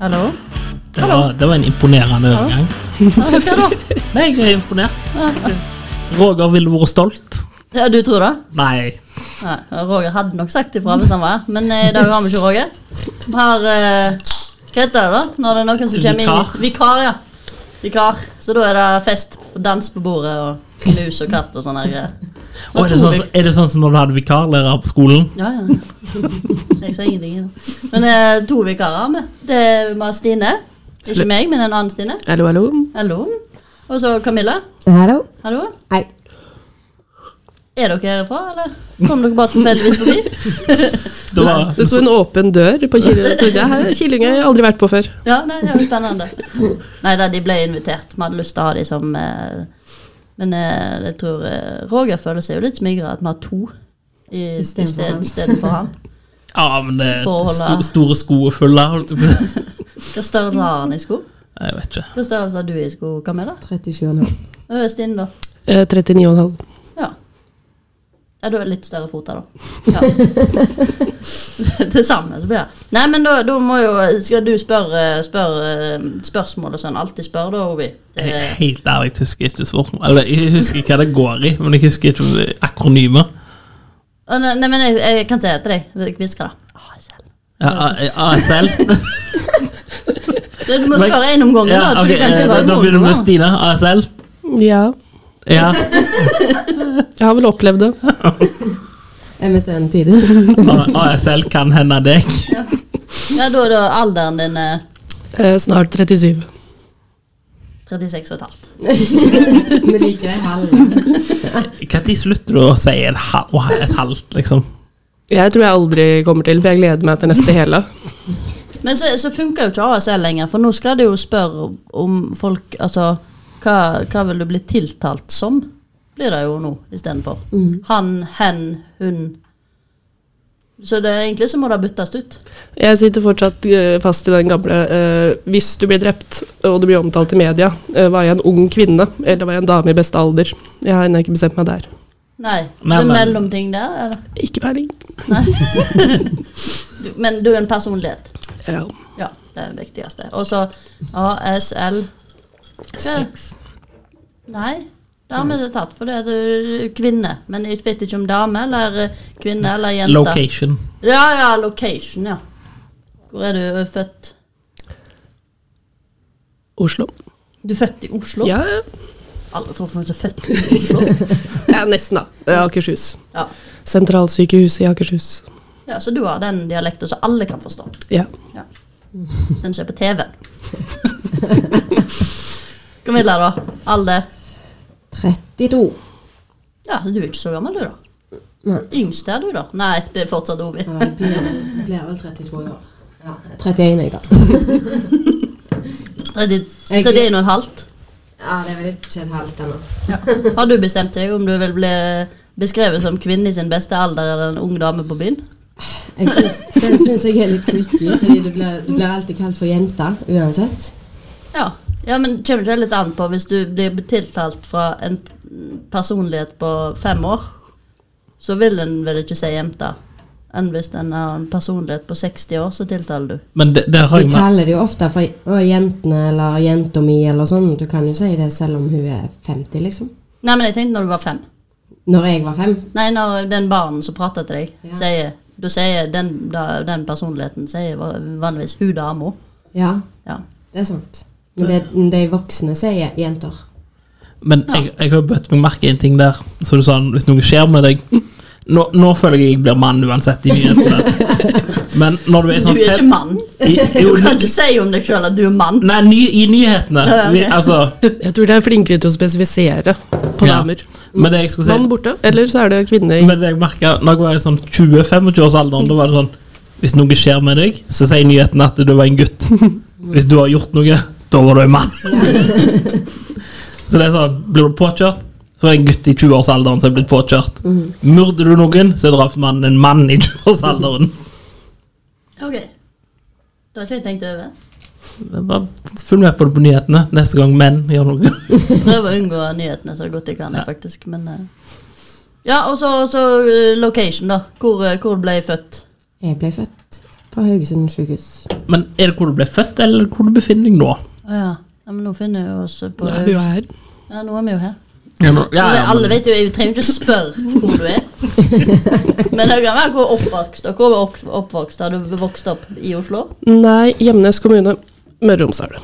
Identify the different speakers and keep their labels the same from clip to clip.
Speaker 1: Hallo?
Speaker 2: Det var, det var en imponerende
Speaker 1: Hallo.
Speaker 2: overgang.
Speaker 1: Ja, hva da?
Speaker 2: Nei, jeg er imponert. Roger ville vært stolt.
Speaker 1: Ja, du tror det?
Speaker 2: Nei.
Speaker 1: Nei, Roger hadde nok sagt ifra hvis han var her, men eh, i dag har vi ikke Roger. Vi har eh, Hva heter det, da? Når det er noen som kommer inn
Speaker 2: Vikar.
Speaker 1: Vikar. ja. Vikar. Så da er det fest og dans på bordet og mus og katt og sånne her greier.
Speaker 2: Og er, det sånn, er det sånn som når du hadde vikarlærer på skolen?
Speaker 1: Ja, ja. Jeg sa ingenting. jeg. Men eh, to vikarer har vi. Det er- Vi har Stine. Ikke meg, men en annen Stine.
Speaker 3: Hallo, hallo.
Speaker 1: Hallo. Og så Camilla.
Speaker 4: Hallo.
Speaker 1: Hallo.
Speaker 4: Hei.
Speaker 1: Er dere herfra, eller? Kom dere bare tilfeldigvis forbi?
Speaker 2: Det var,
Speaker 3: Det sto en åpen dør på Killinga. Så det her- Killinga har jeg aldri vært på før.
Speaker 1: Ja, nei, det er jo spennende. Nei da, de ble invitert. Vi hadde lyst til å ha de som eh, Men eh, jeg tror eh, Roger føler seg jo litt smigret at vi har to i- i
Speaker 4: stedet for
Speaker 1: sted-
Speaker 4: han.
Speaker 1: i stedet for han.
Speaker 2: ja, men det er
Speaker 1: Får holde.
Speaker 2: sto, store sko å fylle. holdt jeg på å si.
Speaker 1: Hva størrelse har han i sko?
Speaker 2: Jeg vet ikke.
Speaker 1: Hva størrelse har du i sko, Camilla?
Speaker 4: 37,5.
Speaker 1: Og det er Stine, da.
Speaker 3: Eh, 39,5.
Speaker 1: Ja. Ja, du har litt større føtter, da. Ja. Til sammen så blir det Nei, men da, da må jo Skal du spørre spør, spørsmål og sånn? Alltid spør, da, Eh, Obi. Det
Speaker 2: Jeg,
Speaker 1: er-
Speaker 2: helt ærlig, jeg husker ikke spørsmål. Eller, jeg husker hva det går i, men jeg husker ikke akronymer.
Speaker 1: Å, Nei, nei, men jeg, jeg kan si det til deg. Hvisk det. ASL.
Speaker 2: Ja, A- A- ASL.
Speaker 1: Du du må
Speaker 2: Men-
Speaker 1: spørre én om gangen,
Speaker 2: Ja,
Speaker 1: da. for
Speaker 2: ok,
Speaker 1: du kan ikke
Speaker 2: eh,
Speaker 1: svare
Speaker 2: da
Speaker 1: noen
Speaker 2: begynner vi med
Speaker 1: ganger.
Speaker 2: Stine. ASL.
Speaker 3: Ja,
Speaker 2: Ja.
Speaker 3: jeg har vel opplevd det.
Speaker 4: MSN-tider.
Speaker 2: A- ASL kan hende deg.
Speaker 1: Ja, da er det alderen din eh,
Speaker 3: Eh, Snart 37.
Speaker 1: 36 og et halvt.
Speaker 4: Vi liker deg halv.
Speaker 2: Når slutter du å si et, hal å, et halvt, liksom?
Speaker 3: Jeg tror jeg aldri kommer til, for jeg gleder meg til neste hele.
Speaker 1: Men så, så funker jo ikke ASL lenger, for nå skal du jo spørre om folk Altså, hva, hva vil du bli tiltalt som? Blir det jo nå istedenfor. Han, hen, hun. Så det, egentlig så må det byttes ut.
Speaker 3: Jeg sitter fortsatt eh, fast i den gamle eh, Hvis du blir drept og du blir omtalt i media, eh, var jeg en ung kvinne eller var jeg en dame i beste alder? Jeg har ennå ikke bestemt meg der.
Speaker 1: Nei.
Speaker 2: Nei,
Speaker 1: det er
Speaker 2: men-
Speaker 1: mellomting der. eller?
Speaker 3: Ikke peiling.
Speaker 1: Du, men du er en personlighet.
Speaker 3: Ja.
Speaker 1: Ja, det er det viktigste. Og så ASL Sex. Nei, det har vi ikke tatt, for det er det kvinne. Men jeg vet ikke om dame eller eh, kvinne eller jente.
Speaker 2: Location.
Speaker 1: Ja, ja, location, ja. Hvor er du eh, født?
Speaker 3: Oslo.
Speaker 1: Du er født i Oslo?
Speaker 3: Ja, ja.
Speaker 1: Alle tror for noen som er født i Oslo.
Speaker 3: ja, nesten, da. Eh, Akershus.
Speaker 1: Ja.
Speaker 3: Sentralsykehuset i Akershus.
Speaker 1: ja, Så du har den dialekten som alle kan forstå.
Speaker 3: Ja.
Speaker 1: Ja. Den som er på TV-en. Camilla, da? Alder?
Speaker 4: 32.
Speaker 1: Ja, du er ikke så gammel, du, da.
Speaker 4: Nei.
Speaker 1: Yngst er du, da. Nei, det er fortsatt Ovi.
Speaker 4: Ja, jeg blir, blir vel 32 i år. Ja, 31 jeg, da.
Speaker 1: Tredje-
Speaker 4: Jeg-
Speaker 1: tredje og en halvt.
Speaker 4: Ja, det er vel ikke et halvt ennå.
Speaker 1: Har du bestemt deg om du vil bli beskrevet som kvinne i sin beste alder eller en ung dame på byen?
Speaker 4: Jeg synes, den syns jeg er litt tricky, fordi du blir, du blir alltid kalt for jenta uansett.
Speaker 1: Ja, ja men kommer ikke det litt an på hvis du blir tiltalt fra en personlighet på fem år, så vil en vel ikke si jente. Enn hvis en har en personlighet på 60 år, så tiltaler du.
Speaker 2: Men det, det har
Speaker 4: Du
Speaker 2: jeg med.
Speaker 4: kaller det jo ofte for å, 'jentene' eller 'jenta mi' eller sånn. Du kan jo si det selv om hun er 50, liksom.
Speaker 1: Nei, men jeg tenkte når du var fem.
Speaker 4: Når jeg var fem.
Speaker 1: Nei, når den barnen som prater til deg,
Speaker 4: Ja.
Speaker 1: sier Da sier den, da, den personligheten sier vanligvis 'hun dama'.
Speaker 4: Ja,
Speaker 1: Ja.
Speaker 4: det er sant. Men det, de voksne sier 'jenter'.
Speaker 2: Men jeg, jeg har bøtt meg merke i en ting der. Så du sa hvis noe skjer med deg Nå, nå føler jeg jeg blir mann uansett i nyhetene. Men når du er
Speaker 1: Du
Speaker 2: sånn
Speaker 1: er
Speaker 2: fem-
Speaker 1: ikke mann.
Speaker 2: I,
Speaker 1: Du
Speaker 2: jo,
Speaker 1: kan ikke si om deg sjøl at du er mann.
Speaker 2: nei, ny, i nyhetene.
Speaker 1: Ja, ok.
Speaker 2: Vi, altså,
Speaker 3: Jeg tror de er flinkere til å spesifisere på
Speaker 2: ja.
Speaker 3: damer.
Speaker 2: Men det jeg skulle
Speaker 3: Mann
Speaker 2: si
Speaker 3: borte, eller så er det kvinne i
Speaker 2: Men det jeg merket, når jeg var i sånn 20-25-årsalderen, da var det sånn Hvis noe skjer med deg, så sier nyhetene at du var en gutt. Hvis du har gjort noe, da var du en mann. Så det er sånn, Blir du påkjørt, så er det en gutt i 20-årsalderen som er blitt påkjørt.
Speaker 1: Mhm.
Speaker 2: Myrder du noen, så er drapsmannen en mann i 20-årsalderen.
Speaker 1: Ok. Det har ikke jeg tenkt over.
Speaker 2: Det er bare- Følg med på det på nyhetene neste gang menn gjør noe.
Speaker 1: Prøv å unngå nyhetene så godt jeg kan, jeg, faktisk. Men eh. Ja, og så, så eh, location, da. Hvor, eh, hvor ble jeg født?
Speaker 4: Jeg ble født På Haugesund sykehus.
Speaker 2: Men er det hvor du ble født, eller hvor du befinner deg nå?
Speaker 1: Å ja. ja. Men nå finner vi oss på
Speaker 3: Nå er vi jo her.
Speaker 1: Ja, nå er vi jo her.
Speaker 2: Ja, nå- ja,
Speaker 1: alle,
Speaker 2: ja,
Speaker 1: alle
Speaker 2: men,
Speaker 1: vet jo, jeg trenger ikke spørre hvor du er. Men det kan være hvor oppvokst dere er. opp- oppvokst. Har du vokst opp i Oslo?
Speaker 3: Nei, Hjemnes kommune. Møre og Romsdal.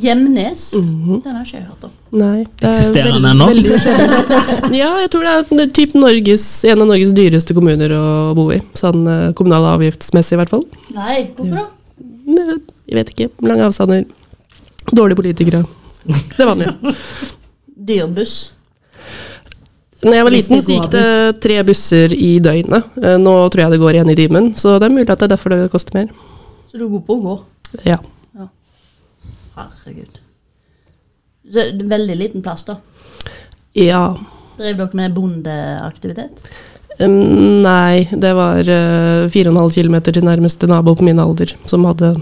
Speaker 1: Hjemnes?
Speaker 2: Mhm.
Speaker 1: Den har ikke jeg hørt om.
Speaker 3: Nei. det er
Speaker 2: Eksisterer den
Speaker 3: veld-
Speaker 2: ennå?
Speaker 3: veldig sjelden. Ja, jeg tror det er en typ Norges, en av Norges dyreste kommuner å bo i. Sånn eh, kommunal og avgiftsmessig, i hvert fall.
Speaker 1: Nei, hvorfor da?
Speaker 3: Nei, Jeg vet ikke. Lange avstander. Dårlige politikere. Det er vanlig.
Speaker 1: Dyr buss.
Speaker 3: Når jeg var
Speaker 4: Hvis det
Speaker 3: liten, så
Speaker 4: går
Speaker 3: gikk det tre busser i døgnet. Eh, Nå tror jeg det går én i timen, så det er mulig at det er derfor det koster mer.
Speaker 1: Så du er god på å gå?
Speaker 3: Ja.
Speaker 1: Ja. Herregud. Så det er veldig liten plass, da.
Speaker 3: ja.
Speaker 1: Drev dere med bondeaktivitet?
Speaker 3: Um, Nei, det var eh, 4,5 km til nærmeste nabo på min alder, som hadde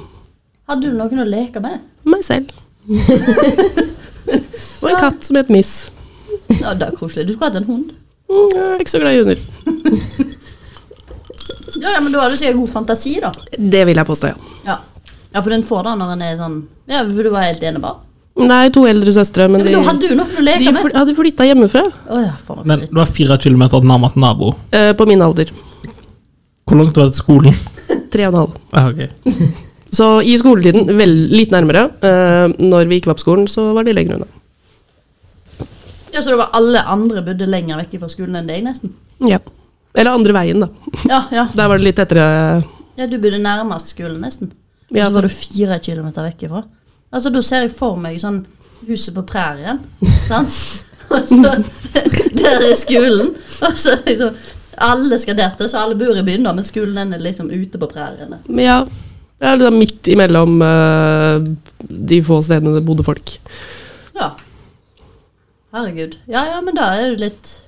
Speaker 1: Hadde du noen å leke med?
Speaker 3: meg selv. og en katt som het Miss.
Speaker 1: Ja, det er koselig. Du skulle hatt en hund.
Speaker 3: Mm, Jeg er ikke så glad i hunder.
Speaker 1: Ja, ja, men da har du sikkert god fantasi, da.
Speaker 3: Det vil jeg påstå, ja.
Speaker 1: Ja, ja for den får da når en er sånn Ja, for du var helt enebarn.
Speaker 3: Nei, to eldre søstre, men,
Speaker 1: Men da hadde
Speaker 3: de,
Speaker 1: du noen å
Speaker 3: de
Speaker 1: leke med.
Speaker 3: fly, hadde flytta hjemmefra
Speaker 1: Å ja, for noe
Speaker 2: men
Speaker 1: dritt.
Speaker 2: du var fire kilometer til nærmeste nabo.
Speaker 3: eh, på min alder.
Speaker 2: Hvor langt var det til skolen?
Speaker 3: Tre og en halv.
Speaker 2: Ah, ok.
Speaker 3: Så i skoletiden, vel, litt nærmere. Eh, når vi gikk på skolen, så var de lenger unna.
Speaker 1: Ja, Så det var alle andre bodde lenger vekk fra skolen enn deg, nesten?
Speaker 3: Ja. Eller andre veien, da.
Speaker 1: Ja, ja.
Speaker 3: Der var det litt tettere
Speaker 1: ja du bodde nærmest skolen, nesten. Og
Speaker 3: Ja,
Speaker 1: så
Speaker 3: men-
Speaker 1: var du fire kilometer vekk ifra. Altså, da ser jeg for meg sånn Huset på prærien, sant? Og så Der er skolen. Og så liksom Alle skal der til, så alle bor i byen, da, men skolen den er liksom ute på præriene.
Speaker 3: Men ja, det er liksom midt imellom eh, de få stedene det bodde folk.
Speaker 1: Ja. Herregud. Ja, ja, men da er du litt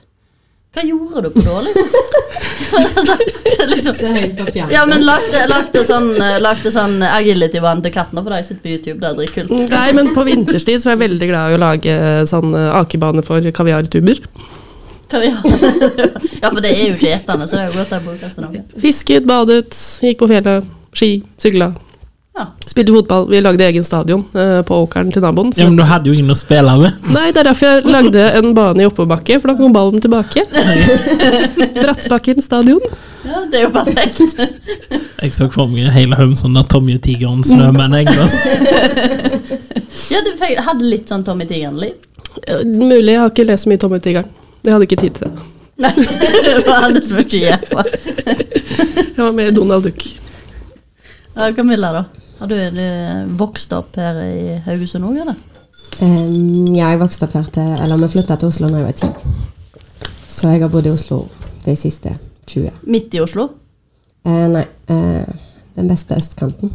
Speaker 1: Hva gjorde du på da, liksom? altså, det er liksom
Speaker 4: Det er helt forfjernelse.
Speaker 1: Ja, men lagde, lagde sånn, eh, lagde sånn agility-vann til kattene, for de sitter på YouTube. Det er dritkult.
Speaker 3: Nei, men på vinterstid så er jeg veldig glad i å lage sånn eh, akebane for kaviartuber.
Speaker 1: Kan vi ha- Ja, for det er jo ikke etende, så det er jo godt de bruker til noe.
Speaker 3: Fisket, badet, gikk på fjellet, ski, sykla.
Speaker 1: Ja.
Speaker 3: Spilte fotball. Vi lagde egen stadion eh, på åkeren til naboen.
Speaker 2: Ja,
Speaker 3: Så.
Speaker 2: men du hadde jo ingen å spille med.
Speaker 3: Nei, det er derfor jeg lagde en bane i oppoverbakke, for da kom ballen tilbake. Brattbakken stadion.
Speaker 1: ja, det er jo perfekt.
Speaker 2: Jeg så for meg hele Humson der Tommy og tigeren snømenn. Jeg, altså.
Speaker 1: Ja, du fikk, hadde litt sånn Tommy Tigeren-liv.
Speaker 3: Eh, Mulig jeg har ikke lest så mye Tommy Tigeren. Jeg hadde ikke tid til det.
Speaker 1: Nei, det var hadde så mye å gjøre.
Speaker 3: Jeg var mer Donald Duck.
Speaker 1: Ja, Camilla, da? Har du, er du vokst opp her i Haugesund òg, eller?
Speaker 4: Ehm, ja, jeg vokste opp her til Eller vi flytta til Oslo da jeg var ti. Så jeg har bodd i Oslo de siste 20.
Speaker 1: Midt i Oslo?
Speaker 4: Eh, nei. eh, den beste østkanten.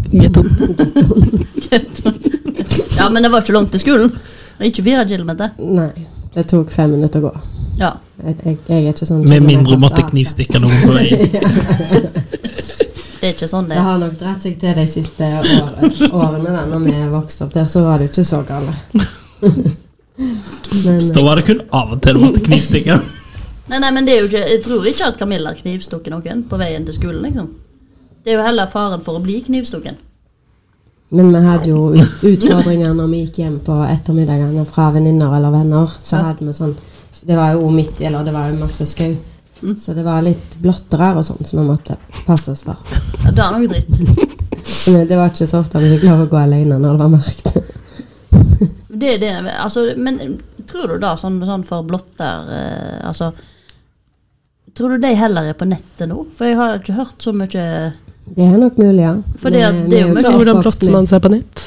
Speaker 1: Ja, men det var ikke langt til skolen. Det er ikke fire kilometer.
Speaker 4: Nei. Det tok fem minutter å gå.
Speaker 1: Ja.
Speaker 4: Jeg, jeg, jeg er ikke sånn
Speaker 2: Med mindre
Speaker 4: kilometers
Speaker 2: du måtte
Speaker 4: avstand.
Speaker 2: knivstikke noen på veien.
Speaker 1: Det er ikke sånn det
Speaker 4: Det
Speaker 1: er.
Speaker 4: har nok dratt seg til de siste årene, årene da når vi vokste opp der, så var det jo ikke så gale. Men
Speaker 2: Så Da var det kun av og til du måtte knivstikke.
Speaker 1: Nei, nei, men det er jo ikke, Jeg tror ikke at Camilla knivstukket noen på veien til skolen, liksom. Det er jo heller faren for å bli knivstukket.
Speaker 4: Men vi hadde jo ut- utfordringer når vi gikk hjem på ettermiddagene fra venninner eller venner. Så
Speaker 1: Ja.
Speaker 4: hadde vi sånn Det var jo midt i, eller det var jo masse skau.
Speaker 1: Mm.
Speaker 4: Så det var litt blottere og sånn som vi måtte passe oss for.
Speaker 1: Ja, det er noe dritt.
Speaker 4: Så vi- det var ikke så ofte vi fikk lov å gå alene når det var mørkt.
Speaker 1: Det, er det, altså, men tror du da, sånn, sånn for blotter eh, Altså Tror du de heller er på nettet nå? For jeg har ikke hørt så mye
Speaker 4: Det er nok mulig, ja.
Speaker 1: For det-
Speaker 4: Men eh,
Speaker 1: det er jo
Speaker 4: vi
Speaker 1: mye-
Speaker 4: ikke
Speaker 3: Hvordan
Speaker 4: oppvokst
Speaker 3: blotter
Speaker 4: med-
Speaker 3: man seg på nett?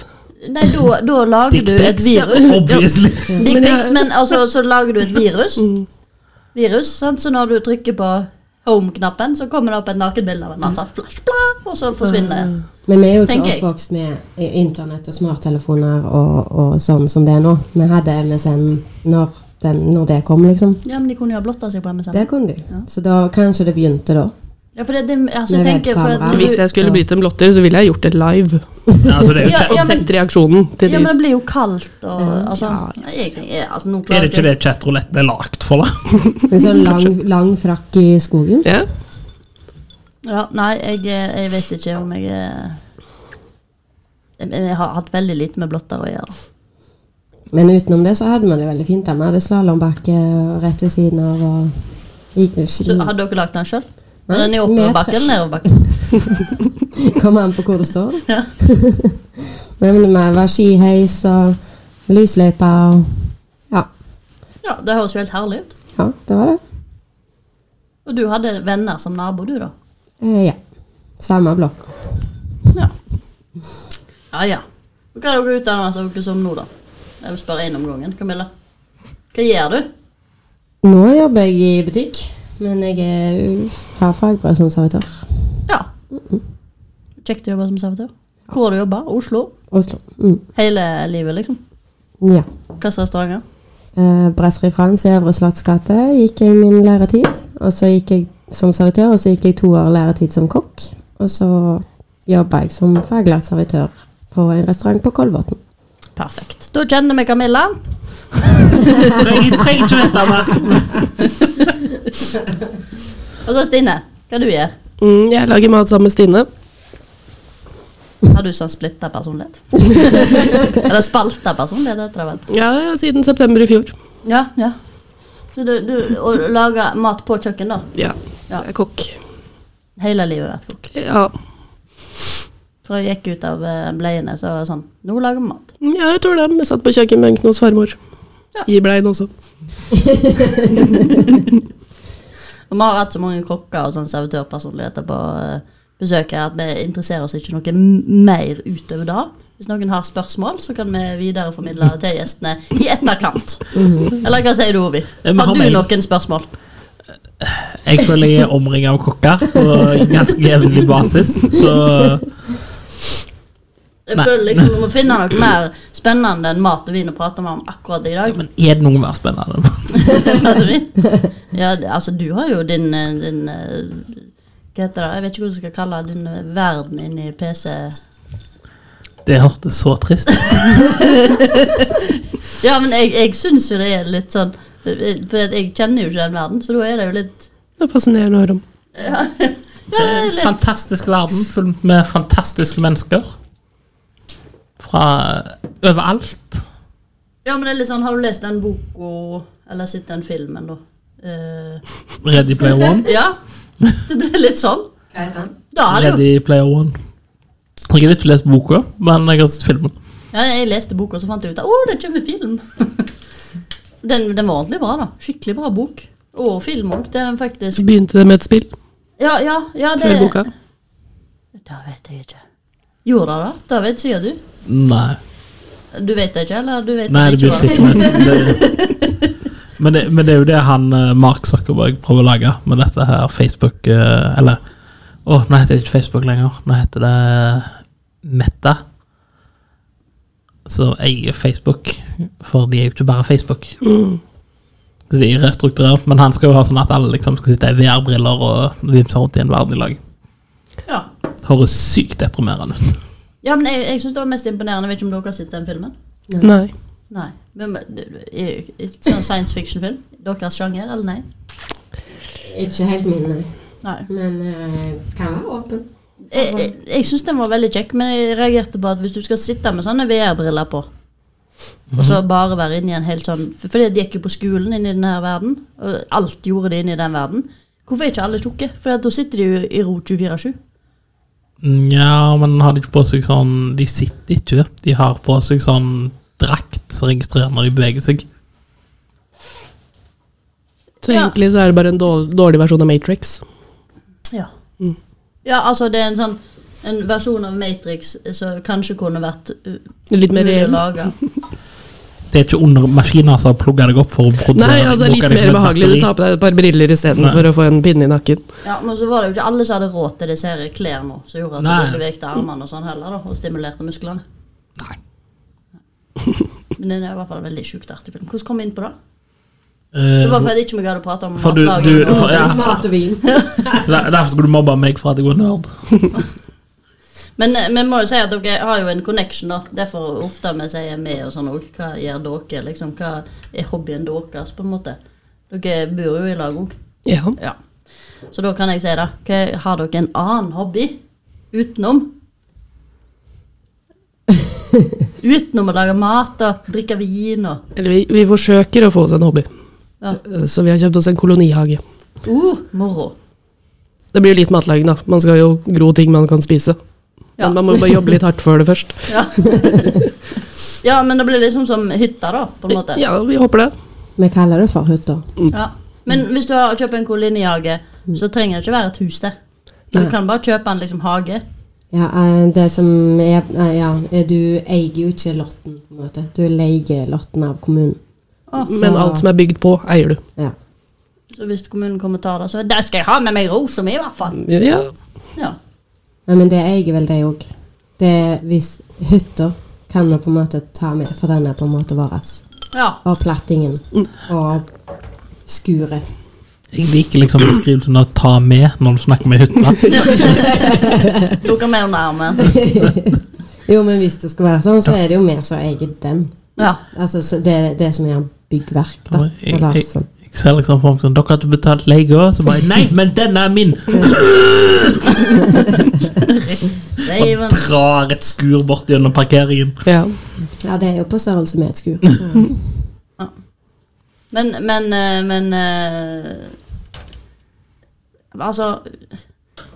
Speaker 1: Nei, da da lager du et
Speaker 2: Dickpics.
Speaker 1: virus.
Speaker 2: Obviously.
Speaker 1: Dick
Speaker 3: Men jeg-
Speaker 1: pics, men altså, så lager du et virus. Virus, sant? Så når du trykker på home-knappen, så kommer det opp et nakenbilde av en annen. sånn Flash, bla, og så forsvinner det.
Speaker 4: Men vi er jo ikke
Speaker 1: Tenker jeg.
Speaker 4: oppvokst med i- internett og smarttelefoner og, og sånn som det er nå. Vi hadde MSN når, den, når det kom, liksom.
Speaker 1: Ja, men de kunne jo ha blotta seg på MSN.
Speaker 4: Det kunne de. Så da kanskje det begynte da.
Speaker 1: Ja, for det, det altså,
Speaker 4: Med
Speaker 1: jeg tenker for at
Speaker 4: webkamera.
Speaker 1: du,
Speaker 3: Hvis jeg skulle blitt en blotter, så ville jeg gjort det live.
Speaker 2: Altså, det er, jo
Speaker 1: Ja,
Speaker 2: ikke,
Speaker 1: ja.
Speaker 3: Og sett reaksjonen til
Speaker 1: Ja,
Speaker 3: de
Speaker 1: men det blir jo kaldt og altså,
Speaker 3: Ja,
Speaker 1: Nei, egentlig, jeg, altså, nå
Speaker 2: er
Speaker 1: klarer
Speaker 2: det ikke det chatroulette ble lagt for, da?
Speaker 4: Med sånn lang, lang frakk i skogen.
Speaker 3: Ja.
Speaker 1: Ja, nei, jeg, jeg vet ikke om jeg er jeg, jeg har hatt veldig lite med blotter å gjøre.
Speaker 4: Men utenom det så hadde man det veldig fint. da. Vi hadde slalåmbakke rett ved siden av. og gikk med
Speaker 1: Så
Speaker 4: ski.
Speaker 1: Har dere lagd den sjøl?
Speaker 4: Mm. Nei,
Speaker 1: Den er
Speaker 4: vi er
Speaker 1: oppoverbakke
Speaker 4: tre-
Speaker 1: eller nedoverbakke?
Speaker 4: Kommer an på hvor det står.
Speaker 1: Ja.
Speaker 4: Men det var skiheis og lysløype og ja.
Speaker 1: ja, det høres jo helt herlig ut.
Speaker 4: ja, det var det.
Speaker 1: Og du hadde venner som nabo, du, da?
Speaker 4: Eh, ja. Samme blokk.
Speaker 1: Ja ja. ja. Og Hva er dere utdannet altså, dere som nå, da? Jeg vil spørre én om gangen. Camilla, hva gjør du?
Speaker 4: Nå jobber jeg i butikk, men jeg er, har fagbrev som servitør.
Speaker 1: Ja. Kjekt å jobbe som servitør. Hvor har du jobba? Oslo?
Speaker 4: Oslo. Mm.
Speaker 1: Hele livet, liksom?
Speaker 4: Ja.
Speaker 1: Hvilke restauranter?
Speaker 4: Eh, Brasserie France i Øvre Slottsgate gikk jeg min læretid. Og så gikk jeg som servitør, og så gikk jeg to år læretid som kokk. Og så jobba jeg som faglært servitør på en restaurant på Kolbotn.
Speaker 1: Perfekt. Da kjenner vi Camilla.
Speaker 2: Jeg trenger ikke vite mer.
Speaker 1: Og så Stine, hva du gjør
Speaker 3: Mm, jeg lager mat sammen med Stine.
Speaker 1: Har du sånn splitta personlighet? Eller spalta personlighet, heter det vel.
Speaker 3: Ja, siden september i fjor.
Speaker 1: Ja, ja. Så du, du og lager mat på kjøkken, da?
Speaker 3: Ja,
Speaker 1: Ja.
Speaker 3: så jeg er kokk.
Speaker 1: Hele livet vært kokk.
Speaker 3: Ja.
Speaker 1: Fra jeg gikk ut av eh, bleiene, så var det sånn Nå lager vi mat.
Speaker 3: Mm, ja, jeg tror det. Jeg satt på kjøkkenbenken hos farmor.
Speaker 1: Ja.
Speaker 3: I bleien også.
Speaker 1: Og vi har hatt så mange kokker og sånn servitørpersonligheter på eh, besøk her at vi interesserer oss ikke noe m- mer utover det. Hvis noen har spørsmål, så kan vi videreformidle det til gjestene i etterkant. Eller hva sier du, Ovi?
Speaker 2: Eh, vi
Speaker 1: Har
Speaker 2: har
Speaker 1: du
Speaker 2: mail.
Speaker 1: noen spørsmål?
Speaker 2: Jeg føler jeg er omringet av kokker på ganske jevnlig basis, så
Speaker 1: Jeg
Speaker 2: Nei.
Speaker 1: føler liksom Vi må finne noe mer spennende enn mat og vin å prate om akkurat i dag.
Speaker 2: Men er det noe mer spennende?
Speaker 1: Prate vin? ja, det- altså, du har jo din, eh, din eh, Hva heter det? Jeg vet ikke hva du skal kalle det, din eh, verden inni PC.
Speaker 2: Det hørtes så trist ut.
Speaker 1: Ja, men jeg, jeg syns jo det er litt sånn For at jeg kjenner jo ikke den verden, så da er det jo litt eh,
Speaker 3: Det er fascinerende å høre om.
Speaker 1: Ja, det er litt
Speaker 2: Fantastisk verden fullt med fantastiske mennesker. Fra overalt.
Speaker 1: Ja, men det er litt sånn Har du lest den boka, eller sett den filmen, da? Eh,
Speaker 2: Ready Player One.
Speaker 1: ja. Det blir litt sånn.
Speaker 4: Hva heter han?
Speaker 1: Da hadde jo
Speaker 2: Ready Player One. Jeg har ikke lest boka, men jeg har sett filmen.
Speaker 1: Ja, jeg leste boka, og så fant jeg ut at å, det kommer film. den, den var ordentlig bra, da. Skikkelig bra bok. Og film òg. Det er
Speaker 3: Så
Speaker 1: faktisk
Speaker 3: begynte det med et spill
Speaker 1: Ja, ja, ja det
Speaker 3: før boka.
Speaker 1: Da vet jeg ikke. Gjorde det, da? Da vet sier du.
Speaker 2: Nei.
Speaker 1: Du vet det ikke, eller du vet
Speaker 2: Nei, det
Speaker 1: det
Speaker 2: begynte
Speaker 1: ikke?
Speaker 2: ikke med det. Men det, men det er jo det han eh, Mark Zuckerberg prøver å lage med dette her Facebook eh, Eller Å, nå heter det ikke Facebook lenger. Nå heter det Meta. Så eier Facebook, for de er jo ikke bare Facebook. Så de er restrukturert, men han skal jo ha sånn at alle liksom skal sitte i VR-briller og vimse rundt i en verden i lag.
Speaker 1: da. Ja.
Speaker 2: Høres sykt deprimerende ut.
Speaker 1: Ja, men jeg, jeg synes det var mest imponerende. Jeg vet ikke om dere har sett den filmen?
Speaker 3: Nei.
Speaker 1: Nei. Men, men, det- det er jo ikke- ikke sånn science fiction-film? Deres sjanger, eller nei?
Speaker 4: Ikke helt min, nei.
Speaker 1: Nei.
Speaker 4: Men eh, kan være åpen.
Speaker 1: Jeg, jeg, jeg syns den var veldig kjekk, men jeg reagerte på at hvis du skal sitte med sånne VR-briller på, og så bare være inne i en helt sånn For fordi de gikk jo på skolen inne i den her verden, og alt gjorde de inne i den verden. Hvorfor er ikke alle tjukke? For da sitter de jo i ro 24-7.
Speaker 2: Nja, men har de ikke på seg sånn De sitter ikke. De har på seg sånn drakt som registrerer når de beveger seg.
Speaker 3: Så
Speaker 1: Ja.
Speaker 3: egentlig så er det bare en dårlig, dårlig versjon av Matrix.
Speaker 1: Ja. ja, altså, det er en sånn en versjon av Matrix eh, som kanskje kunne vært uh,
Speaker 3: Litt mer
Speaker 1: mulig å
Speaker 3: reell.
Speaker 1: lage.
Speaker 2: Det er ikke under maskiner som har plugga deg opp for å produsere
Speaker 3: Nei, altså det er
Speaker 2: deg, bruker
Speaker 3: litt
Speaker 2: deg
Speaker 3: mer
Speaker 2: som et
Speaker 3: behagelig. Du
Speaker 2: batteri.
Speaker 3: tar på deg et par briller
Speaker 2: Nei.
Speaker 3: istedenfor å få en pinne i nakken.
Speaker 1: Ja, men så var det jo ikke alle som hadde råd til disse her klærne som gjorde at
Speaker 2: Nei.
Speaker 1: de bevegte armene og sånn heller, da, og stimulerte musklene.
Speaker 2: Nei.
Speaker 1: Men den er i hvert fall en veldig sjukt artig film. Hvordan kom vi inn på det?
Speaker 2: Eh,
Speaker 1: Det var fordi ikke vi gadd å prate om
Speaker 2: for du, du
Speaker 1: matlaging. og-
Speaker 2: for, ja,
Speaker 4: Mat og vin.
Speaker 2: så der- Derfor skulle du mobbe meg for at jeg var nerd.
Speaker 1: Men eh, vi må jo si at dere har jo en connection, da. Derfor ofte vi sier vi og sånn òg. Hva gjør dere? liksom? Hva er hobbyen deres, på en måte? Dere bor jo i lag òg.
Speaker 3: Ja.
Speaker 1: Ja. Så da kan jeg si det. Hva- Har dere en annen hobby utenom? Utenom å lage mat og drikke vin og
Speaker 3: Eller vi, vi forsøker å få oss en hobby.
Speaker 1: ja.
Speaker 3: Eh, Så vi har kjøpt oss en kolonihage.
Speaker 1: uh, moro.
Speaker 3: Det blir jo litt matlaging, da. Man skal jo gro ting man kan spise.
Speaker 1: Ja.
Speaker 3: Men man må jo bare jobbe litt hardt for det først.
Speaker 1: Ja. ja, men det blir liksom som hytta, da, på en måte.
Speaker 3: Ja, vi håper det.
Speaker 4: Vi kaller det for hytta.
Speaker 1: Ja. Men hvis du har, kjøper en kolonihage, så trenger det ikke være et hus der. Du
Speaker 3: Nei.
Speaker 1: kan bare kjøpe en liksom hage.
Speaker 4: Ja, eh, det som er eh, Ja, eh, du eier jo ikke lotten, på en måte. Du leier lotten av kommunen.
Speaker 1: Altså-
Speaker 3: Men alt som er bygd på, eier du.
Speaker 4: Ja.
Speaker 1: Så hvis kommunen kommer og tar det, så der skal jeg ha med meg rosa mi, i hvert fall.
Speaker 3: Ja,
Speaker 1: Ja.
Speaker 4: Nei, men det eier vel de òg. Hvis hytta kan vi på en måte ta med, for den er på en måte vår.
Speaker 1: ja.
Speaker 4: Og plattingen. Og skuret.
Speaker 2: Jeg liker liksom beskrivelsen av 'ta med' når du snakker med hytta.
Speaker 1: Tok han med under armen.
Speaker 4: Jo, men hvis det skal være sånn, så er det jo vi som eier den.
Speaker 1: Ja.
Speaker 4: Altså så det, det som er byggverk, da.
Speaker 2: Jeg,
Speaker 4: å
Speaker 2: jeg,
Speaker 4: være
Speaker 2: jeg,
Speaker 4: sånn.
Speaker 2: ser liksom for meg sånn 'Dere hadde betalt leie òg?' Så bare 'Nei, men denne er min!'
Speaker 1: Raven.
Speaker 2: Drar et skur bort gjennom parkeringen.
Speaker 3: ja.
Speaker 4: Ja, det er jo på størrelse med et skur. så-
Speaker 1: Men, men, eh, men eh, Altså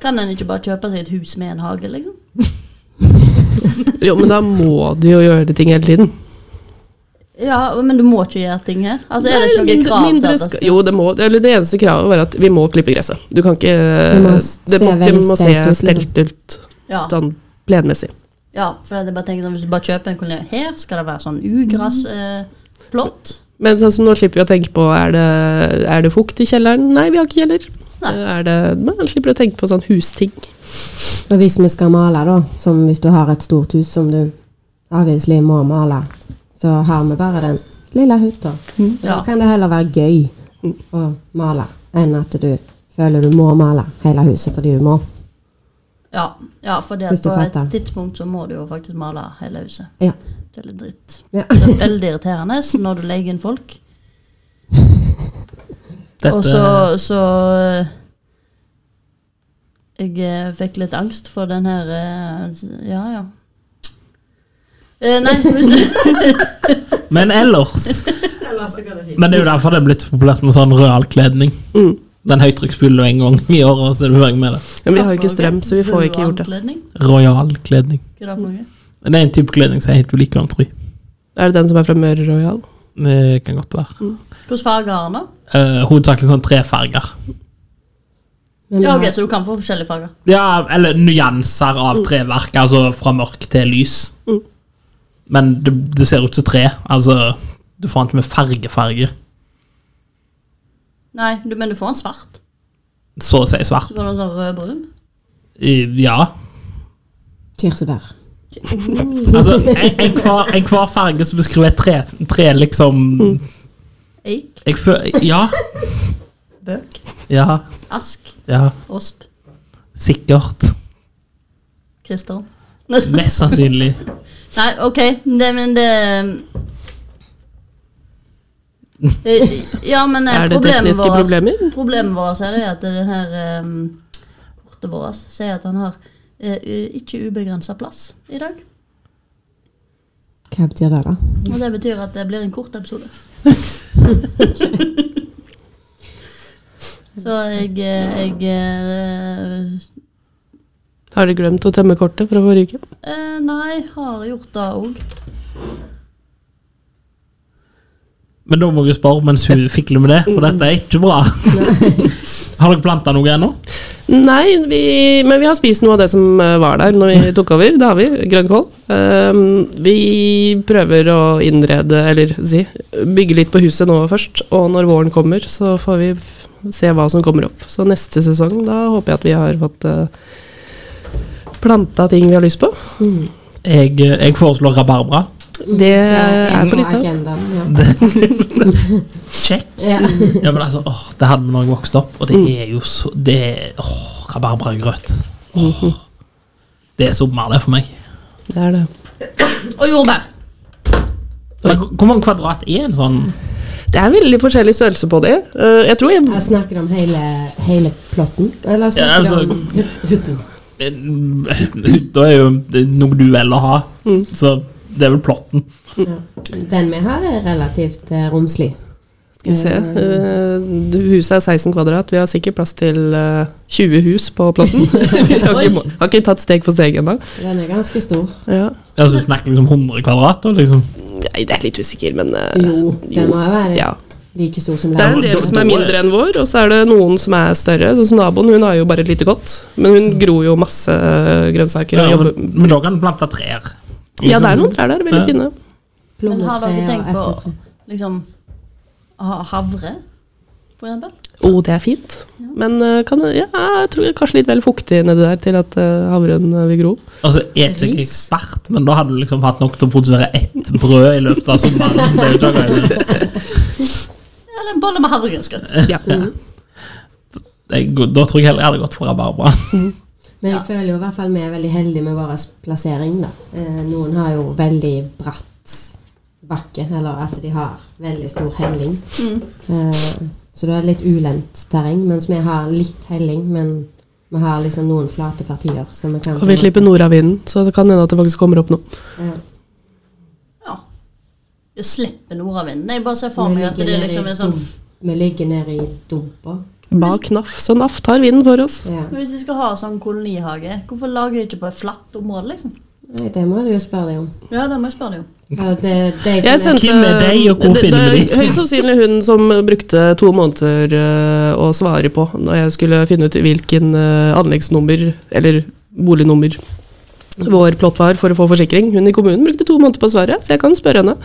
Speaker 1: Kan en ikke bare kjøpe seg et hus med en hage, liksom?
Speaker 3: Jo, men da må du jo gjøre de ting hele tiden.
Speaker 1: Ja, men du må ikke gjøre ting her? Altså, er det ikke noen
Speaker 3: Nei,
Speaker 1: krav til
Speaker 3: mindre
Speaker 1: at det
Speaker 3: skal- Jo, det må eller Det eneste kravet var at vi må klippe gresset. Du kan ikke
Speaker 4: Det må
Speaker 3: Det må,
Speaker 4: se
Speaker 3: det
Speaker 4: veldig
Speaker 3: må se
Speaker 4: stelt ut, liksom.
Speaker 3: stelt ut,
Speaker 1: Ja,
Speaker 3: sånn plenmessig.
Speaker 1: ja for jeg bare tenker sånn, Hvis du bare kjøper en koloni her, skal det være sånn eh, ugressplott?
Speaker 3: Men sånn som nå slipper vi å tenke på er det, er det fukt i kjelleren. Nei, vi har ikke kjeller.
Speaker 1: Nei.
Speaker 3: Er det, man slipper å tenke på sånn husting.
Speaker 4: Og hvis vi skal male, da, som hvis du har et stort hus som du avviselig må male, så har vi bare den lille hytta.
Speaker 3: Mm.
Speaker 4: Da
Speaker 1: Ja.
Speaker 4: kan det heller være gøy å male enn at du føler du må male hele huset fordi du må.
Speaker 1: ja, ja, for det
Speaker 4: Hvis
Speaker 1: at
Speaker 4: du
Speaker 1: på et
Speaker 4: fatter.
Speaker 1: tidspunkt så må du jo faktisk male hele huset.
Speaker 4: Ja.
Speaker 1: Det er litt dritt.
Speaker 4: ja.
Speaker 1: Det er veldig irriterende når du legger inn folk.
Speaker 2: Dette,
Speaker 1: Og så, så eh, Jeg eh, fikk litt angst for den her eh, Ja, ja. Eh, nei, hvis-
Speaker 2: Men ellers Men det er jo derfor det er blitt så populært med sånn realkledning.
Speaker 3: Mm.
Speaker 2: Den høytrykksspylen en gang i året, så er du ferdig med det.
Speaker 3: Men vi har jo ikke strøm, så vi får ikke gjort det.
Speaker 1: Anledning?
Speaker 2: Royal kledning.
Speaker 1: Hva er det for noe?
Speaker 2: Det er en type kledning som er helt ulik country.
Speaker 3: Er det den som er fra Møre Royal?
Speaker 2: Det kan godt være.
Speaker 1: Hvilken farge har den, da?
Speaker 2: Eh, hovedsakelig sånn trefarger.
Speaker 4: Men vi
Speaker 1: Ja, ok,
Speaker 4: har-
Speaker 1: Så du kan få forskjellige farger?
Speaker 2: Ja, eller nyanser av treverk, altså fra mørk til lys. Men det, det ser ut som tre. Altså, du får den ikke med fargefarger.
Speaker 1: Nei, du, men du får en svart.
Speaker 2: Så å si svart.
Speaker 1: Så får du en sånn rødbrun.
Speaker 2: Eh, Ja.
Speaker 4: kirsebær.
Speaker 2: Altså, en, en, hver, en hver farge som beskriver et tre, tre liksom
Speaker 1: Eik,
Speaker 2: jeg føler, Ja.
Speaker 1: bøk,
Speaker 2: Ja.
Speaker 1: ask,
Speaker 2: Ja.
Speaker 1: osp,
Speaker 2: Sikkert.
Speaker 1: kristern.
Speaker 2: Mest sannsynlig.
Speaker 1: Nei, ok, det, men det Eh, Ja, men eh,
Speaker 3: Er det
Speaker 1: problemet
Speaker 3: tekniske
Speaker 1: vårt-
Speaker 3: problemer?
Speaker 1: Problemet vårt her er at den her um, kortet vårt sier at han har eh, u- ikke ubegrensa plass i dag.
Speaker 4: Hva betyr det, da?
Speaker 1: Og det betyr at det blir en kort episode. Så jeg, eh, jeg eh,
Speaker 3: Har dere glemt å tømme kortet fra forrige uke?
Speaker 1: eh, Nei, har gjort det òg.
Speaker 2: Men da må jeg spørre mens hun fikler med det, for dette er ikke bra. Har dere planta noe ennå?
Speaker 3: Nei, vi, men vi har spist noe av det som eh, var der når vi tok over. Det har vi. Grønnkål. Ehm, vi prøver å innrede, eller si, bygge litt på huset nå først. Og når våren kommer, så får vi f- se hva som kommer opp. Så neste sesong, da håper jeg at vi har fått eh, planta ting vi har lyst på.
Speaker 2: Jeg, jeg foreslår rabarbra.
Speaker 3: Det Eh, er på
Speaker 4: på
Speaker 3: lista.
Speaker 4: agendaen. Ja.
Speaker 2: Sjekk.
Speaker 4: Ja.
Speaker 2: Ja, men altså, åh, Det hadde vi når jeg vokste opp, og det er jo så Det er åh, rabarbragrøt. Åh. Det er sommer, det, for meg.
Speaker 3: Det er det.
Speaker 1: Og jordbær!
Speaker 2: Men, hvor mange kvadrat er en sånn
Speaker 3: Det er veldig forskjellig størrelse på de. Eh, jeg tror jeg,
Speaker 4: Jeg snakker om hele, hele plotten. Eller snakker
Speaker 2: Ja, altså-
Speaker 4: om hut- hutten.
Speaker 2: Da er jo det noe du velger å ha. Så det er vel plotten.
Speaker 4: Den vi har, er relativt eh, romslig.
Speaker 3: skal jeg se Eh, Huset er 16 kvadrat. Vi har sikkert plass til eh, 20 hus på platten. vi har ikke, har ikke tatt steg for steg ennå.
Speaker 4: Den er ganske stor.
Speaker 3: Ja.
Speaker 2: Altså, du snakker liksom 100 kvadrat? da, Liksom.
Speaker 3: Nei, det er litt usikker, men eh,
Speaker 4: Jo, den må være
Speaker 3: ja.
Speaker 4: like stor som
Speaker 3: Det er en
Speaker 4: leiligheten.
Speaker 3: del som er mindre enn vår, og så er det noen som er større. Sånn som naboen, hun har jo bare et lite godt, men hun gror jo masse eh, grønnsaker.
Speaker 2: Ja,
Speaker 3: og
Speaker 2: men,
Speaker 3: jobber.
Speaker 2: men da kan du plante trær.
Speaker 3: Ja, det er noen trær der, veldig
Speaker 2: Ja.
Speaker 3: fine.
Speaker 1: Men har
Speaker 4: Plommetre
Speaker 1: dere
Speaker 4: og
Speaker 1: tenkt
Speaker 4: epletre.
Speaker 1: på liksom, ha havre, for eksempel?
Speaker 3: Å, det er fint. Men eh, kan, ja, jeg tror jeg er kanskje litt vel fuktig nedi der til at eh, havren eh, vil gro.
Speaker 2: Altså, jeg er ikke
Speaker 4: Ris.
Speaker 2: ekspert, men da hadde du liksom hatt nok til å produsere ett brød i løpet av sommeren. Det er jo ikke akkurat-
Speaker 1: Eller en bolle med havregrøtsgrøt.
Speaker 3: Ja.
Speaker 2: det er god- Da tror jeg heller jeg hadde gått for rabarbra.
Speaker 4: Men jeg føler jo i hvert fall vi er veldig heldige med vår plassering, da. Eh, noen har jo veldig bratt bakke, eller at de har veldig stor helling.
Speaker 1: Mm.
Speaker 4: Eh, så det er litt ulendt terreng, mens vi har litt helling, men vi har liksom noen flate partier. Så vi kan
Speaker 3: Og vi slipper nordavinden, så det kan hende at det faktisk kommer opp noe.
Speaker 4: Ja.
Speaker 1: Ja. Det slipper nordavinden. Jeg bare ser for
Speaker 4: Vi
Speaker 1: meg at
Speaker 4: ligger
Speaker 1: det er
Speaker 4: nede i
Speaker 1: liksom en sånn
Speaker 4: dum- Vi ligger nede i dumper.
Speaker 3: Bak NAF, så NAF tar vinden for oss.
Speaker 4: Ja.
Speaker 1: Men Hvis de skal ha sånn kolonihage, hvorfor lager de ikke på et flatt område, liksom?
Speaker 4: Nei, det må du jo spørre deg om.
Speaker 1: Ja, det må jeg spørre deg om.
Speaker 4: Ja, det, de som
Speaker 3: Jeg
Speaker 4: er
Speaker 3: sendte,
Speaker 2: Hvem er de, og hvor
Speaker 3: det,
Speaker 2: finner vi
Speaker 3: det er Høyst sannsynlig hun som brukte to måneder eh, å svare på når jeg skulle finne ut hvilken eh, anleggsnummer, eller bolignummer, vår plott var for å få forsikring. Hun i kommunen brukte to måneder på å svare, så jeg kan spørre henne.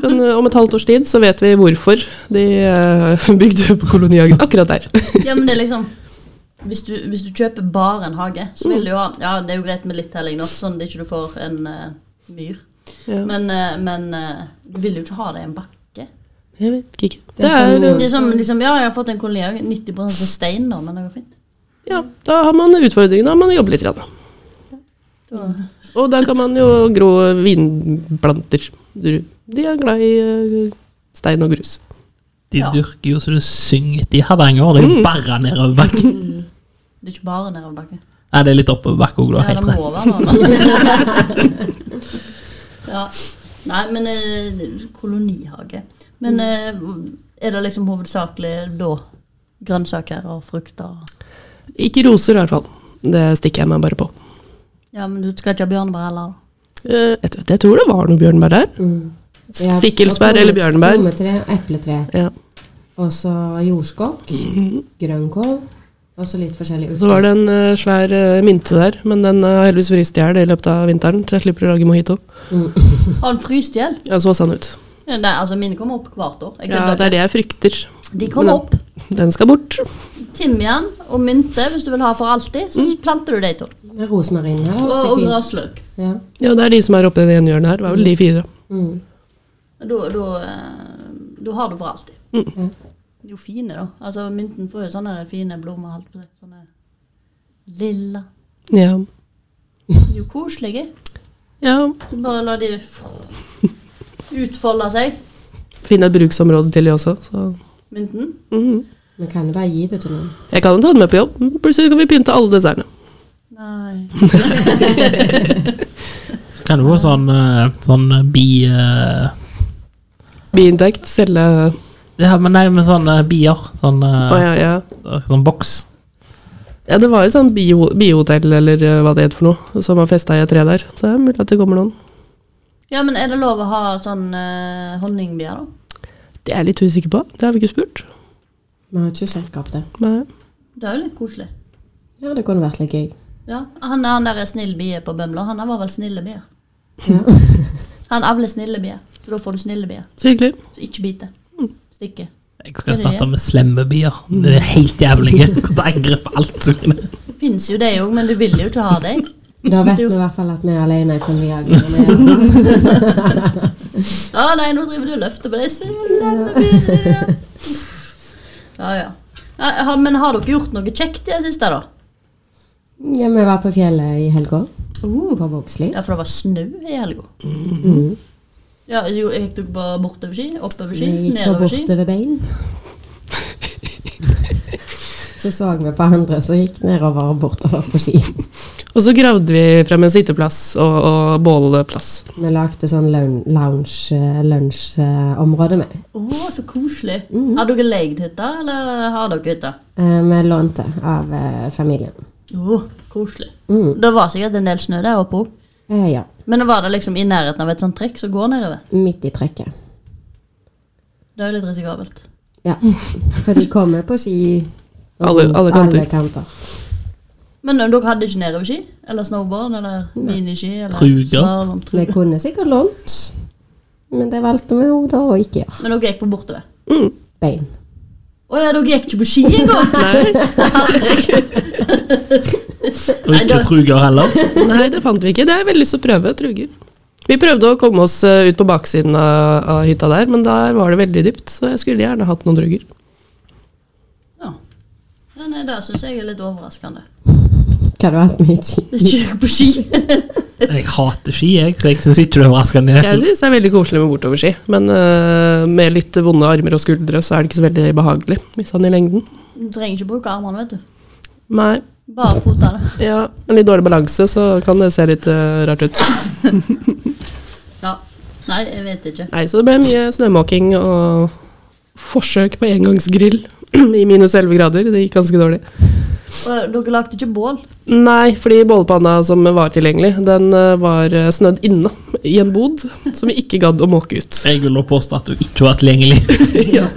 Speaker 3: Men eh, om et halvt års tid så vet vi hvorfor de eh, bygde på kolonihagen akkurat der.
Speaker 1: Ja, men det er liksom hvis du, hvis du kjøper bare en hage, så vil du jo ha Ja, det er jo greit med litt telling, nå, sånn at du ikke får en eh, myr.
Speaker 3: Ja.
Speaker 1: Men, eh, men eh, du vil jo ikke ha det i en bakke.
Speaker 3: Jeg vet ikke.
Speaker 4: Det
Speaker 3: Det
Speaker 4: kan
Speaker 3: er, sånn-
Speaker 4: jo-
Speaker 1: Det er som, liksom, ja, jeg har fått en kolonihage. 90 på stein, da, men det går fint.
Speaker 3: ja, da har man utfordringen, da må man jobbe litt. Grann.
Speaker 1: Da,
Speaker 3: Og da kan man jo gro vinplanter. Dru- De er glad i eh, stein og grus.
Speaker 2: De
Speaker 1: Ja.
Speaker 2: dyrker jo så det synger etter i Hardanger. Det er jo bare nedover bakken.
Speaker 1: det er ikke bare nedoverbakke.
Speaker 2: Nei, det er litt oppover bakken òg, du
Speaker 1: Ja,
Speaker 2: har helt
Speaker 1: det
Speaker 2: rett.
Speaker 1: må være nedoverbakke. ja. Nei, men eh, kolonihage. Men eh, er det liksom hovedsakelig da grønnsaker og frukter?
Speaker 3: Ikke roser, i hvert fall. Det stikker jeg meg bare på.
Speaker 1: Ja, men du skal ikke ha bjørnebær heller? da?
Speaker 3: Eh, Jeg, tror- jeg tror det var noe bjørnebær der.
Speaker 4: Ja,
Speaker 3: Stikkelsbær
Speaker 4: og
Speaker 3: eller
Speaker 4: plomme-
Speaker 3: bjørnebær.
Speaker 4: Plommetre, epletre.
Speaker 3: Ja.
Speaker 4: Og så jordskokk, grønnkål, og så litt forskjellig
Speaker 3: Så var det en eh, svær eh, mynte der, men den eh, har heldigvis fryst i hjel i løpet av vinteren, så jeg slipper å lage mojito.
Speaker 1: Har den fryst i hjel?
Speaker 3: Ja, så sånn ut.
Speaker 1: Ja, Nei, altså mine kommer opp hvert år. Jeg
Speaker 3: Ja,
Speaker 1: kødder
Speaker 3: det er det jeg frykter.
Speaker 1: ikke. De kommer opp.
Speaker 3: Den skal bort.
Speaker 1: Timian og mynte, hvis du vil ha for alltid, så planter du de to.
Speaker 4: Med rosmarin her.
Speaker 1: Og,
Speaker 4: også
Speaker 1: og
Speaker 4: fint.
Speaker 1: grasløk.
Speaker 4: Ja.
Speaker 3: Ja, det er de som er oppe i det ene hjørnet her. Det var vel de fire.
Speaker 4: Mm.
Speaker 1: Da, da, eh, da har du for alltid.
Speaker 4: Ja.
Speaker 1: De er jo fine, da. Altså, mynten får jo sånne fine blomster. Alt på seg. Sånne lilla.
Speaker 3: Ja.
Speaker 1: De er jo koselige.
Speaker 3: ja.
Speaker 1: Du bare la de utfolde seg,
Speaker 3: Finne et bruksområde til de også, så
Speaker 1: mynten.
Speaker 3: mhm.
Speaker 4: Men kan jo bare gi det til noen.
Speaker 3: Jeg kan jo ta den med på jobb. Plutselig kan vi pynte alle dessertene.
Speaker 1: Nei.
Speaker 2: Kan du få sånn, eh, sånn eh, bi... eh,
Speaker 3: Biinntekt, selge
Speaker 2: Ja, men nei, men sånn eh, bier. Sånn, eh,
Speaker 3: Å ja, ja.
Speaker 2: sånn boks.
Speaker 3: ja, det var jo sånn bio- biohotell, eller eh, hva det het for noe, som har festa i et tre der. Så det er mulig at det kommer noen.
Speaker 1: Ja, men er det lov å ha sånn eh, honningbier, da?
Speaker 3: Det er jeg litt usikker på. Det har vi ikke spurt.
Speaker 4: Vi har ikke sjekka opp det.
Speaker 3: Nei.
Speaker 1: Det er jo litt koselig.
Speaker 4: Ja, det kunne vært litt gøy.
Speaker 1: Ja, han, han der er snill bie på Bømlo. Han var vel snille bier.
Speaker 4: Ja.
Speaker 1: Han avler snille bier, så da får du snille bier.
Speaker 3: Så hyggelig.
Speaker 1: Så ikke bite. Stikke.
Speaker 2: Jeg skal starte med slemme bier. Det er helt jævlige. Kan ta angrep på alt. som kan-
Speaker 1: Det fins jo det òg, men du vil jo ikke ha det.
Speaker 4: Da vet vi i hvert fall at vi er alene i konviagen.
Speaker 1: Å nei, nå driver du og løfter på deg. Se, lille bier. Ja, ja. Nei, har- Men har dere gjort noe kjekt i det siste, da?
Speaker 4: Ja, vi var på Uh. fjellet i helga, på Vågsli. Mm.
Speaker 1: Ja, for det var snø i helga. Ja, jo, gikk dere bare bortover ski? Oppover ski?
Speaker 4: Vi gikk bare
Speaker 1: Nedover ski?
Speaker 4: bortover bein. Så så vi på andre som gikk nedover og bortover på ski.
Speaker 3: Og så gravde vi frem en sitteplass og, og bålplass.
Speaker 4: Vi lagde sånn loun- lounge lunsjområde med.
Speaker 1: Å, så koselig. Har dere leid hytta, eller har dere hytta?
Speaker 4: Eh, Vi lånte av eh, familien.
Speaker 1: Å, koselig.
Speaker 4: Mm.
Speaker 1: Det var sikkert en del snø der oppe òg.
Speaker 4: Eh, Ja,
Speaker 1: Men var det liksom i nærheten av et sånt trekk som går nedover?
Speaker 4: midt i trekket.
Speaker 1: Det er jo litt risikabelt.
Speaker 4: Ja, for de kommer på ski
Speaker 3: Alle- alle
Speaker 4: rundt
Speaker 3: kanter.
Speaker 1: Men eh, dere hadde ikke nedoverski? Eller snowboard? Eller miniski? Eller
Speaker 2: Truger.
Speaker 1: slalom,
Speaker 4: Vi
Speaker 1: truger.
Speaker 4: kunne sikkert lånt, men det valgte vi jo da å ikke gjøre.
Speaker 1: Men dere gikk på bortover?
Speaker 4: Bein.
Speaker 1: Å ja, dere gikk ikke på ski engang!
Speaker 3: Nei,
Speaker 2: Og ikke truger heller.
Speaker 3: nei, det fant vi ikke. Det har jeg veldig lyst til å prøve. Truger. Vi prøvde å komme oss eh, ut på baksiden av, av hytta der, men der var det veldig dypt. Så jeg skulle gjerne hatt noen druger.
Speaker 1: ja. ja, nei, Det syns jeg er litt overraskende.
Speaker 4: Hva du hatt mye ski?
Speaker 1: Hvis ikke gikk på ski.
Speaker 2: Jeg hater ski, jeg, så jeg syns ikke det er overraskende.
Speaker 3: Jeg syns det er veldig koselig med bortoverski, men eh, med litt vonde armer og skuldre så er det ikke så veldig behagelig sånn i lengden.
Speaker 1: Du trenger ikke bruke armene, vet du.
Speaker 3: Nei.
Speaker 1: Bare fotene.
Speaker 3: Ja, med litt dårlig balanse så kan det se litt eh, rart ut.
Speaker 1: Ja. Nei, jeg vet ikke.
Speaker 3: Nei, så det ble mye snømåking og forsøk på engangsgrill i minus 11 grader. Det gikk ganske dårlig.
Speaker 1: Og eh, dere lagde ikke bål?
Speaker 3: Nei, fordi bålpanna som var tilgjengelig, den eh, var eh, snødd inne i en bod som vi ikke gadd å måke ut.
Speaker 2: Jeg vil nå påstå at du ikke var tilgjengelig.
Speaker 3: ja.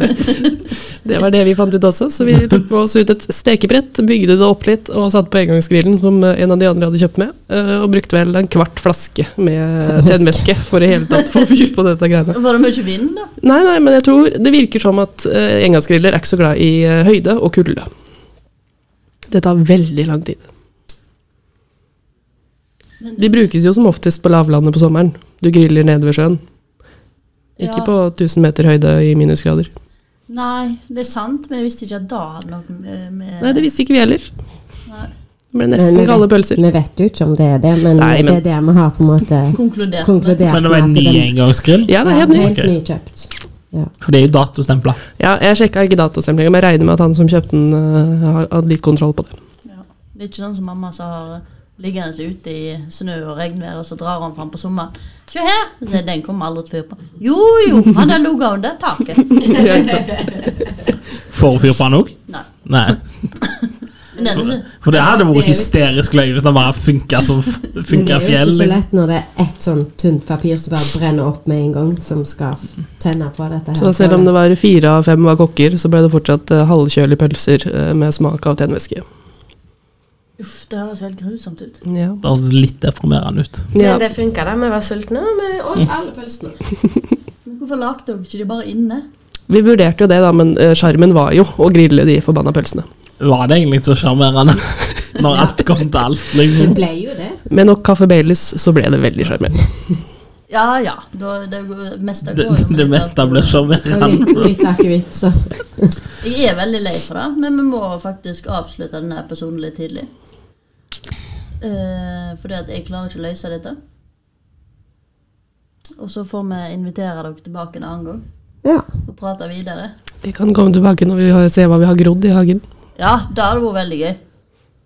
Speaker 3: Det var det vi fant ut også, så vi tok med oss ut et stekebrett, bygde det opp litt og satte på engangsgrillen som eh, en av de andre hadde kjøpt med, eh, og brukte vel en kvart flaske med tennvæske for i hele tatt å få fyr på dette greiene.
Speaker 1: Var det mye vind, da?
Speaker 3: Nei, nei, men jeg tror det virker som at eh, engangsgriller er ikke så glad i eh, høyde og kulde. Det tar veldig lang tid. De brukes jo som oftest på lavlandet på sommeren. Du griller nede ved sjøen. Ikke
Speaker 1: Ja.
Speaker 3: på 1000 meter høyde i minusgrader.
Speaker 1: Nei, det er sant, men jeg visste ikke at da hadde noe med, med
Speaker 3: Nei, det visste ikke vi heller.
Speaker 1: Nei.
Speaker 3: Det ble
Speaker 4: Men vi
Speaker 3: nesten
Speaker 4: vet-
Speaker 3: kalde pølser.
Speaker 4: Vi vet jo ikke om det er det, men,
Speaker 3: Nei, men-
Speaker 4: det er det vi har på en måte
Speaker 1: konkludert. med.
Speaker 4: konkludert
Speaker 2: Men det var en
Speaker 4: med
Speaker 2: ny
Speaker 4: at den-
Speaker 2: engangsgrill.
Speaker 3: Ja, det er helt
Speaker 4: Ja,
Speaker 3: nytt.
Speaker 4: helt
Speaker 2: Ok.
Speaker 4: nykjøpt. Ja.
Speaker 2: For det er jo datostempla.
Speaker 3: Ja, jeg sjekka ikke datostemninga, men jeg regner med at han som kjøpte den, eh, har- hadde litt kontroll på det.
Speaker 1: Ja. Det er ikke sånn som mamma som har liggende ute i snø og regnvær, og så drar han fram på sommeren. Se her! Så sier jeg, den kommer aldri til å fyre på. Jo, jo, han har ligget under taket.
Speaker 3: Ja, ikke sant?
Speaker 2: Får fyr på han òg?
Speaker 1: Nei.
Speaker 2: Nei.
Speaker 1: Men den,
Speaker 2: For det hadde
Speaker 4: Det er
Speaker 2: vært
Speaker 4: jo-
Speaker 2: hysterisk løye hvis den bare funka som
Speaker 4: Men det
Speaker 2: funka
Speaker 4: er jo ikke
Speaker 2: fjell. liksom.
Speaker 4: så lett når det er ett sånn tynt papir som bare brenner opp med en gang, som skal tenne på dette her.
Speaker 3: Så selv om det var fire av fem var kokker, så ble det fortsatt eh, halvkjølige pølser eh, med smak av tennvæske.
Speaker 1: uff, det høres helt grusomt ut.
Speaker 3: Ja.
Speaker 2: Det høres litt deprimerende ut.
Speaker 5: Men det funka, da. Vi var sultne. Vi åt alle pølsene.
Speaker 1: Men hvorfor lagde dere ikke de bare inne?
Speaker 3: Vi vurderte jo det, da, men eh, sjarmen var jo å grille de forbanna pølsene.
Speaker 2: Var det egentlig så sjarmerende? Når alt kom til alt,
Speaker 4: Det
Speaker 2: liksom.
Speaker 4: ble jo det.
Speaker 3: Med nok Kaffe Baileys så ble det veldig sjarmerende.
Speaker 1: Ja ja, da, det, meste går
Speaker 2: Det,
Speaker 1: jo med
Speaker 2: det
Speaker 1: litt
Speaker 2: meste
Speaker 1: alkohol.
Speaker 2: ble
Speaker 4: Og
Speaker 2: sjarmerende.
Speaker 4: litt, litt akevitt, så
Speaker 1: Jeg er veldig lei for det, men vi må faktisk avslutte denne episoden litt tidlig. Eh, fordi at jeg klarer ikke å løse dette. Og så får vi invitere dere tilbake en annen gang
Speaker 4: Ja.
Speaker 1: og prate videre.
Speaker 3: Vi kan komme tilbake når vi har, ser hva vi har grodd i hagen.
Speaker 1: Ja, det hadde vært veldig gøy.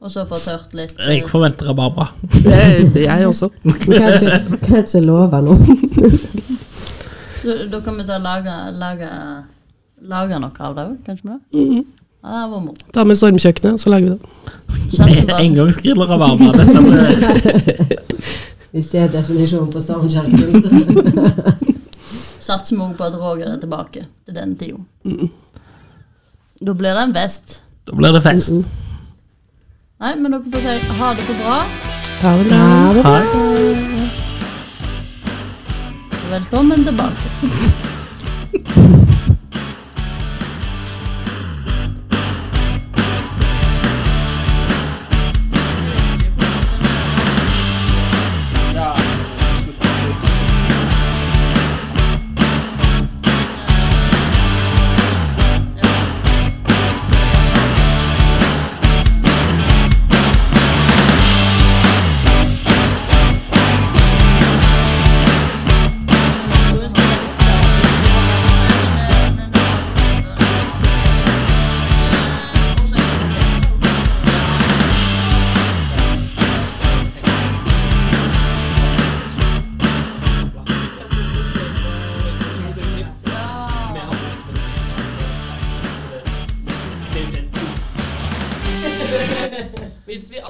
Speaker 1: Og så få tørt litt. eh,
Speaker 2: Jeg forventer rabarbra.
Speaker 3: Jeg, jeg også.
Speaker 4: Vi kan ikke, kan ikke love noe.
Speaker 1: så Eh, Da kan vi ta og lage, lage, lage noe av det òg, kanskje? vi? Ja, det hadde vært moro.
Speaker 3: Ta med stormkjøkkenet, så lager vi det.
Speaker 1: Satser på at-
Speaker 2: Engangsgrill og rabarbra. Dette ble
Speaker 4: Hvis det er definisjonen på stormkjøkken, så
Speaker 1: Satser vi òg på at Roger er tilbake til den tida. Da blir det en vest.
Speaker 2: Da blir det fest.
Speaker 1: Nei, men dere får si ha det for bra.
Speaker 3: Ta det bra.
Speaker 4: Ha det bra.
Speaker 2: Hei.
Speaker 1: Velkommen tilbake.